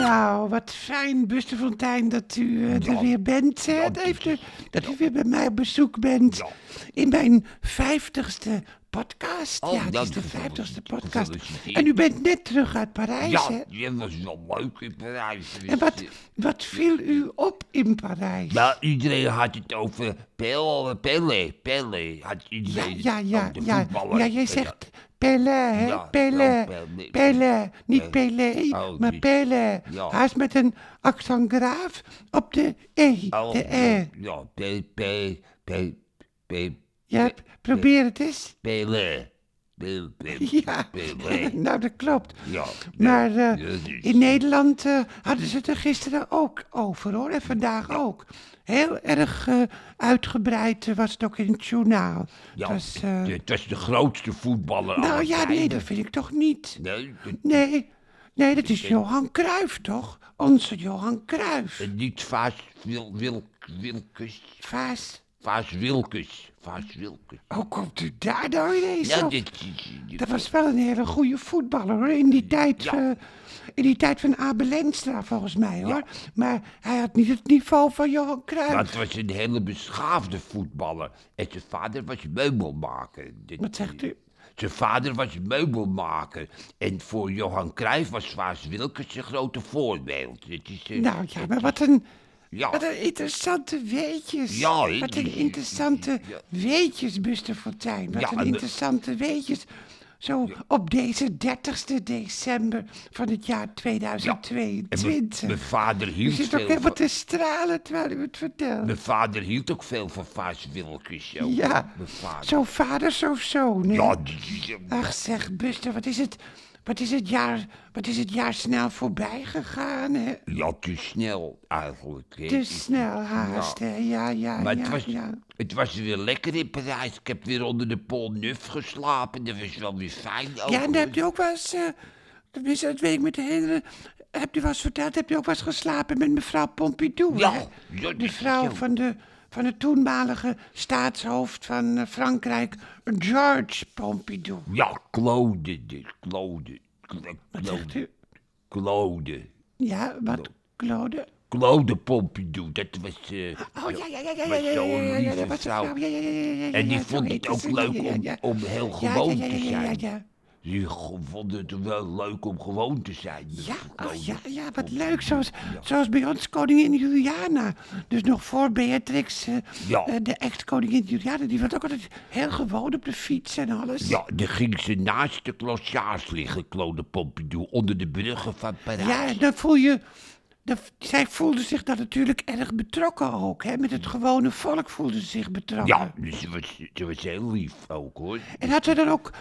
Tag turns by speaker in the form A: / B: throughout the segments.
A: Nou, wat fijn, Busterfontein, dat u eh, er weer bent. hè. Het heeft, eh, dat u weer bij mij op bezoek bent.
B: Ja.
A: In mijn vijftigste podcast.
B: Oh,
A: ja, het
B: ja,
A: is de
B: gefeliciteerd.
A: vijftigste podcast.
B: Gefeliciteerd.
A: En u bent net terug uit Parijs, hè?
B: Ja, dat was nog leuk in Parijs.
A: En wat, wat viel u op in Parijs?
B: Ja, iedereen had het over Pelle, Pelle, Pelle. Had iedereen
A: ja, ja,
B: over de
A: ja.
B: voetballer.
A: Ja, jij zegt Pelle, hè?
B: Ja, ja,
A: Pelle.
B: Pelé.
A: Pelle. Niet
B: Pelé.
A: Pele,
B: Oh,
A: maar
B: die-
A: Pelle.
B: Ja.
A: Haast met een accent graaf op de E.
B: Oh,
A: De E.
B: Ja, Pe, Pe, Pe, Pe,
A: Ja, p- probeer het eens.
B: Pelle. Pe, Pe,
A: Ja,
B: Pele.
A: nou dat klopt.
B: Ja,
A: Maar
B: ja,
A: eh,
B: dat is-
A: in Nederland eh, hadden ze het er gisteren ook over hoor, en vandaag ook. Heel erg eh, uitgebreid eh, was het ook in het journaal.
B: Ja,
A: het was, eh,
B: het was de grootste voetballer
A: nou
B: aller
A: ja, nee,
B: tijden.
A: dat vind ik toch niet.
B: Nee, dat-
A: Nee, nee, dat is Johan Cruijff toch? Onze Johan Cruijff.
B: en niet Vaas Wil, Wil, Wilkes.
A: Vaas,
B: Vaas Wilkes. Vaas Wilkes.
A: hoe komt u daar nou ineens
B: Ja,
A: op?
B: dit,
A: Dat was wel een hele goede voetballer hoor. In die tijd,
B: Ja.
A: eh, in die tijd van Abe Lenstra volgens mij hoor. Maar hij had niet het niveau van Johan Cruijff.
B: dat was een hele beschaafde voetballer. En zijn vader was meubelmaker. Dit-
A: Wat zegt u?
B: Zijn vader was meubelmaker. En voor Johan Cruijff was Vaas Wilkes een grote voorbeeld. Dit is, eh,
A: Nou ja, maar wat een,
B: ja.
A: wat een interessante weetjes.
B: Ja, hè?
A: wat een interessante weetjes, Buster Fontein. Wat
B: Ja, en
A: een
B: de-
A: interessante weetjes. Zo op deze 30ste december van het jaar
B: En mijn-
A: 2022.
B: Mijn vader
A: U
B: hield
A: zit
B: veel
A: ook helemaal
B: van-
A: te stralen terwijl u het vertelt.
B: Mijn vader hield ook veel van Vaas Wilkes. Zo.
A: Ja,
B: Mijn vader.
A: zo vader, zo zoon. hè?
B: Ja, eh, die- die- die-
A: Ach zeg, Buster, wat is het, wat is het, jaar, wat is het jaar snel voorbij gegaan, hè?
B: ja, te snel eigenlijk. hè.
A: Te snel haast, hè? Ja, ja,
B: Maar
A: ja,
B: het, was,
A: ja.
B: het was weer lekker in Parijs. Ik heb weer onder de Polnuf geslapen. Dat was wel weer fijn. Ook,
A: Ja, en
B: hoor.
A: dan heb je ook wel eens, eh, tenminste, dat weet ik met de hele... Heb je wel eens verteld, heb je ook wel eens geslapen met mevrouw Pompidou,
B: Ja,
A: hè?
B: ja, dat
A: De
B: is
A: vrouw
B: zo.
A: van de, van het toenmalige staatshoofd van eh, Frankrijk, George Pompidou.
B: Ja, Claude. De, Claude. Cla-
A: Zegt
B: Claude.
A: u?
B: Claude.
A: Ja, wat, Claude?
B: Claude Pompidou. Dat was... eh,
A: Oh ja, ja, ja, ja, ja,
B: was
A: ja, ja,
B: zo'n
A: ja, ja,
B: lieve
A: ja, dat was een
B: vrouw.
A: vrouw. Ja, ja, ja, ja, ja, ja,
B: En die
A: ja,
B: vond
A: zo
B: het
A: heet
B: ook
A: ze. Ja,
B: leuk
A: ja,
B: om,
A: ja.
B: om heel
A: Ja, ja,
B: gewoon
A: ja,
B: te
A: ja, ja, ja,
B: zijn.
A: ja.
B: Die go- vonden het wel leuk om gewoon te zijn.
A: Ja,
B: Claude.
A: ach ja, ja, wat leuk. Zoals, zoals bij ons koningin Juliana. Dus nog voor Beatrix, eh,
B: Ja.
A: eh, de ex-koningin Juliana, die was ook altijd heel gewoon op de fiets en alles.
B: Ja, dan ging ze naast de klosjaars liggen, Claude Pompidou, onder de bruggen van Parijs.
A: Ja, en dan voel je. Dan, zij voelde zich dan natuurlijk erg betrokken ook. Hè? Met het gewone volk voelde ze zich betrokken.
B: Ja, dus ze was, ze was heel lief ook hoor.
A: En had ze dan ook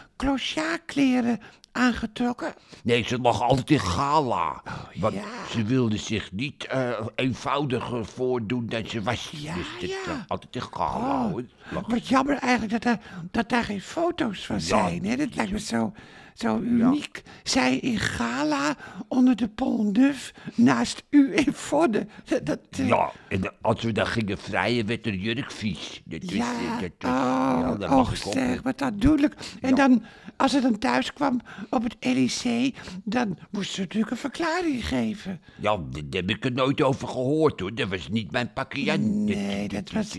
A: clochardkleren aangetrokken?
B: Nee, ze lag altijd in gala. Want
A: Oh, ja.
B: ze wilde zich niet eh, eenvoudiger voordoen dan ze was.
A: Ja,
B: dus dat
A: ja. Oh.
B: lag altijd in gala hoor. Lag-
A: Wat jammer eigenlijk dat daar, dat daar geen foto's van zijn. Hè? Dat lijkt me zo, zo uniek. Zij in gala onder de Pont Neuf naast u in Vodden. Dat, dat, eh,
B: Ja, en dan- als we dan gingen vrijen, werd er jurk vies. Dat was-
A: ja,
B: dat was-
A: oh,
B: daar lag
A: och
B: ik op.
A: zeg, wat aandoenlijk. En dan, als ze dan thuis kwam op het Elysée, dan moest ze natuurlijk een verklaring geven.
B: Ja, daar heb ik er nooit over gehoord hoor. Dat was niet mijn pakje aan.
A: Nee, dat was,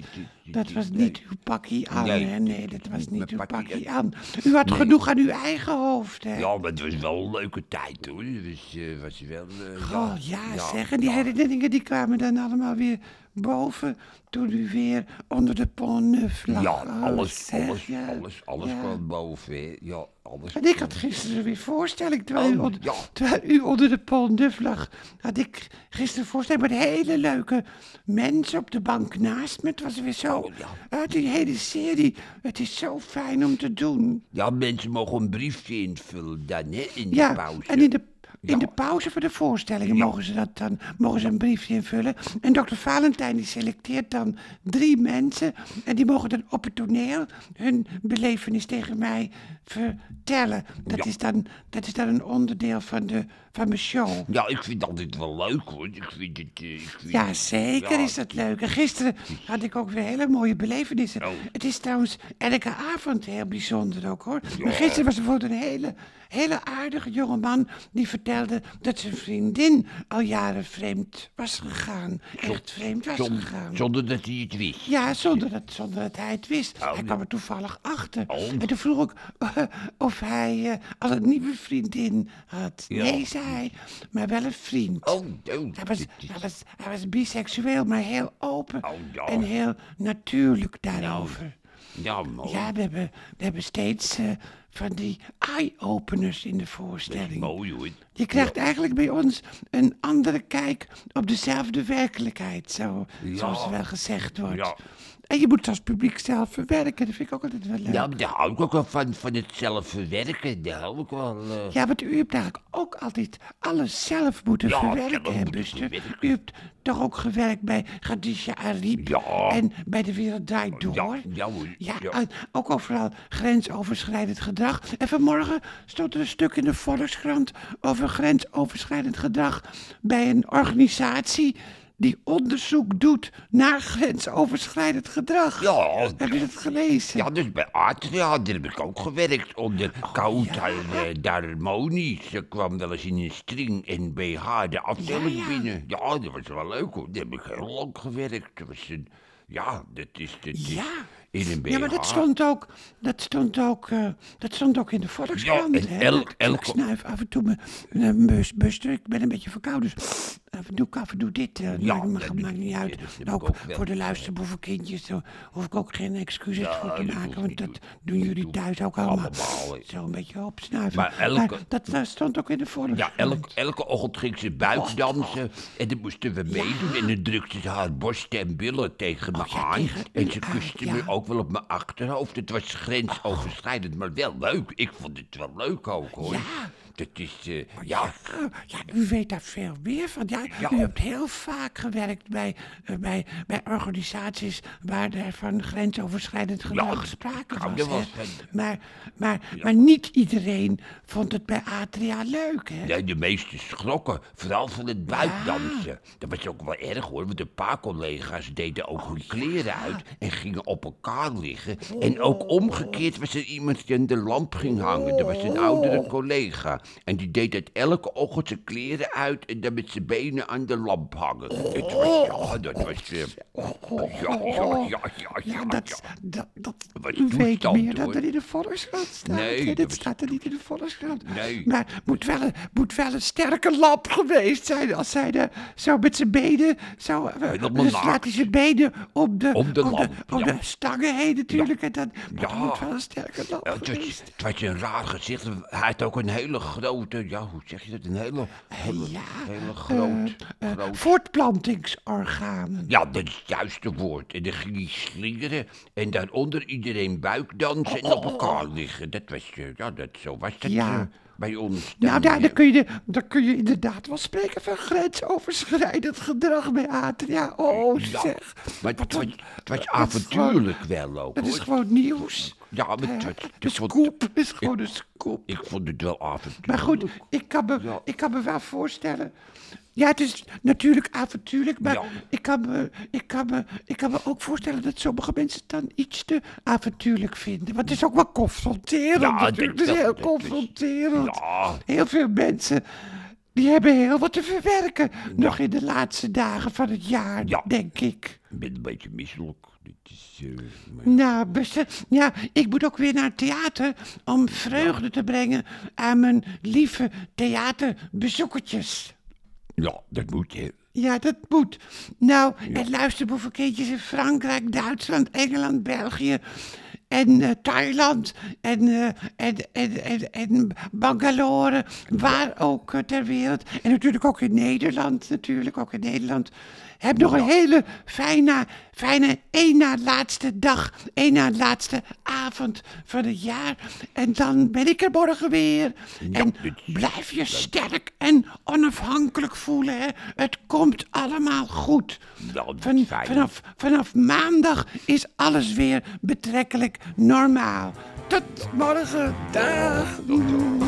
A: dat was niet uw pakkie aan,
B: Nee,
A: hè? Nee, dat was niet
B: mijn
A: uw
B: pakkie
A: pakkie aan. U had genoeg aan uw eigen hoofd, hè?
B: Ja, maar het was wel een leuke tijd hoor. Dus eh, was wel. eh, ja,
A: Oh ja, zeg. En die herinneringen die kwamen dan allemaal weer boven toen u weer onder de ponnuf lag.
B: Ja,
A: Oh,
B: alles,
A: zeg,
B: alles,
A: ja.
B: alles, alles
A: Ja.
B: kwam boven. hè. Ja, alles.
A: En ik had gisteren weer voorstelling, terwijl, u,
B: Oh,
A: on-
B: ja.
A: terwijl u onder de ponnuf lag, had ik gisteren voorstelling met hele leuke mensen op de bank naast me. Het was weer zo,
B: Oh,
A: uit die hele serie, het is zo fijn om te doen.
B: Ja, mensen mogen een briefje invullen dan, hè, in de
A: Ja,
B: pauze.
A: en in de, in de pauze voor de voorstellingen mogen ze dat dan, mogen ze een briefje invullen. En dokter Valentijn die selecteert dan drie mensen en die mogen dan op het toneel hun belevenis tegen mij vertellen. Dat, is, dan, dat is dan een onderdeel van, de, van mijn show.
B: Ja, ik vind altijd wel leuk hoor. Ik vind het... eh, ik vind
A: Ja,
B: het-
A: zeker
B: ja.
A: is dat leuk. En gisteren had ik ook weer hele mooie belevenissen.
B: Oh.
A: Het is trouwens elke avond heel bijzonder ook hoor. Maar gisteren was er bijvoorbeeld een hele, hele aardige jongeman die vertelde vertelde dat zijn vriendin al jaren vreemd was gegaan. Echt vreemd was
B: Zon-
A: gegaan.
B: zonder dat hij het wist.
A: Ja, zonder dat, zonder dat hij het wist.
B: Oh,
A: hij kwam er toevallig achter. En toen vroeg ik eh, of hij eh, al een nieuwe vriendin had.
B: Ja.
A: Nee, zei hij, maar wel een vriend.
B: Oh, oh,
A: Hij was,
B: dit is-
A: hij, was, hij was biseksueel, maar heel open
B: Oh, ja. Nou,
A: en heel natuurlijk daarover.
B: ja, mooi.
A: Ja, we hebben, we hebben steeds eh, van die eye-openers in de voorstelling.
B: Mooi hoor.
A: Je krijgt eigenlijk bij ons een andere kijk op dezelfde werkelijkheid, zo, zoals er wel gezegd wordt.
B: Ja.
A: En je moet het als publiek zelf verwerken, dat vind ik ook altijd wel leuk.
B: Ja,
A: Ja,
B: maar daar hou ik ook wel van, van het zelf verwerken. Daar hou ik wel... eh,
A: want u hebt eigenlijk ook altijd alles zelf moeten
B: Ja, zelf
A: verwerken, hè,
B: moeten
A: Buster?
B: verwerken.
A: U hebt toch ook gewerkt bij Khadija Ariep
B: Ja.
A: en bij De Wereld Draait Door?
B: ja, ja hoor.
A: Ja, en ook overal grensoverschrijdend gedrag. En vanmorgen stond er een stuk in de Volkskrant over grensoverschrijdend gedrag bij een organisatie die onderzoek doet naar grensoverschrijdend gedrag.
B: Ja.
A: Heb je dat gelezen?
B: Ja, dus bij Atria, daar heb ik ook gewerkt onder
A: Oh,
B: koud en eh, Darmonie. Ze kwam wel eens in een string en BH de afdeling
A: Ja, ja.
B: binnen. Ja, dat was wel leuk hoor. Daar heb ik heel lang gewerkt. Dat was een, ja, dat is... Dat is
A: Ja.
B: In een BH.
A: Ja, maar dat stond ook, dat stond ook, eh, dat stond ook in de Volkskrant.
B: Ja, en
A: hè?
B: elk-
A: Ik- ik
B: elk-
A: snuif af en toe mijn- mijn bus, Buster, ik ben een beetje verkouden. Dus af en toe, af en toe dit, eh,
B: Ja,
A: maakt, maakt,
B: dat-
A: maakt niet uit.
B: dat heb
A: En
B: ik
A: ook
B: ook wel.
A: voor de luisterboevenkindjes daar hoef ik ook geen excuses voor te
B: dat
A: maken.
B: hoeft
A: Want
B: niet,
A: dat
B: hoor.
A: doen jullie thuis ook allemaal.
B: allemaal, hè.
A: Zo een beetje opsnuiven.
B: Maar elke-
A: dat eh, stond ook in de Volkskrant.
B: Ja, elk, elke ochtend ging ze
A: Oh,
B: buikdansen en dan moesten we meedoen. En dan drukte ze haar borsten en billen tegen me
A: Oh, ja,
B: aan.
A: tegen u
B: En ze
A: aan,
B: kuste
A: ja.
B: me ook wel op mijn achterhoofd. Het was grensoverschrijdend, maar wel leuk. Ik vond het wel leuk ook, hoor.
A: Ja.
B: Dat is, eh, ja,
A: Oh, ja, u weet daar veel meer van. Ja,
B: Ja.
A: U hebt heel vaak gewerkt bij, eh, bij, bij organisaties waar er van grensoverschrijdend gedrag
B: ik-
A: sprake was.
B: ik hou er wel
A: hè.
B: van.
A: Maar, maar, maar niet iedereen vond het bij Atria leuk, hè?
B: Nee, de meesten schrokken, vooral van het buikdansen. Dat was ook wel erg hoor, want een paar collega's deden
A: Oh,
B: ook hun kleren uit en gingen op elkaar liggen. En
A: Oh.
B: ook omgekeerd was er iemand die aan de lamp ging hangen. Dat was een
A: Oh.
B: oudere collega. En die deed het elke ochtend zijn kleren uit en dan met zijn benen aan de lamp hangen. Het was, ja, dat was... eh, ja, ja, ja, ja,
A: Oh. Ja,
B: ja,
A: dat,
B: ja.
A: dat, dat,
B: Wat
A: u weet
B: toestand,
A: meer dan
B: hoor.
A: er in de Volkskrant staat.
B: Nee,
A: hè.
B: dat
A: Dit
B: was-
A: staat er niet in de Volkskrant.
B: Nee.
A: Maar moet wel, een, moet wel een sterke lamp geweest zijn als hij er zo met zijn benen... Zo, eh,
B: Helemaal
A: dan
B: naakt.
A: slaat hij zijn benen op de,
B: Op de
A: op
B: lamp,
A: op
B: ja.
A: de stangen heen natuurlijk. En dan, maar
B: Ja.
A: dat moet wel een sterke lamp
B: Ja, het, was,
A: geweest
B: het was een raar gezicht. Hij had ook een hele grote, ja, hoe zeg je dat? Een hele, hele,
A: Ja,
B: hele groot,
A: eh, eh,
B: groot.
A: Voortplantingsorganen.
B: Ja, dat is het juiste woord. En dan ging hij slingeren en daaronder iedereen buikdansen en op elkaar liggen. Dat was, eh, ja, dat, zo was dat
A: Oh, Ja.
B: eh, bij ons.
A: Nou,
B: dan,
A: daar, daar,
B: eh,
A: kun je, daar kun je inderdaad wel spreken van grensoverschrijdend gedrag bij Atria. Oh,
B: ja.
A: zeg.
B: Maar het, was, het
A: dat
B: was
A: is gewoon-
B: avontuurlijk wel ook,
A: Dat is
B: hoor.
A: gewoon nieuws.
B: Ja, maar het
A: Hè?
B: was-
A: De
B: ik vond,
A: scoop is gewoon een scoop.
B: ik vond het wel avontuurlijk.
A: Maar goed, ik kan, me,
B: Ja.
A: ik kan me wel voorstellen. Ja, het is natuurlijk avontuurlijk, maar
B: Ja.
A: ik, kan me, ik, kan me, ik kan me ook voorstellen dat sommige mensen het dan iets te avontuurlijk vinden. Want het is ook wel confronterend.
B: Ja,
A: natuurlijk.
B: dat-
A: het is heel
B: dat- dat is-
A: confronterend.
B: Ja.
A: Heel veel mensen. Die hebben heel wat te verwerken. Nog in de laatste dagen van het jaar,
B: Ja.
A: denk ik.
B: Ik ben een beetje misselijk. Dit is, eh, maar-
A: Nou, beste, ja, ik moet ook weer naar het theater om vreugde te brengen aan mijn lieve theaterbezoekertjes.
B: ja, dat moet, hè.
A: Ja, dat moet. Nou, en luister, boevenkindjes in Frankrijk, Duitsland, Engeland, België en eh, Thailand en, eh, en, en, en, en Bangalore, waar ook eh, ter wereld. En natuurlijk ook in Nederland, natuurlijk ook in Nederland. Heb nog een hele fijne, fijne één na laatste dag, één na laatste avond van het jaar. En dan ben ik er morgen weer. en
B: dit is-
A: Blijf je sterk en onafhankelijk voelen. Hè? Het komt allemaal goed.
B: Ja, dat is
A: Van-
B: fijn.
A: vanaf, vanaf maandag is alles weer betrekkelijk normaal. Tot morgen. Dag. Doei.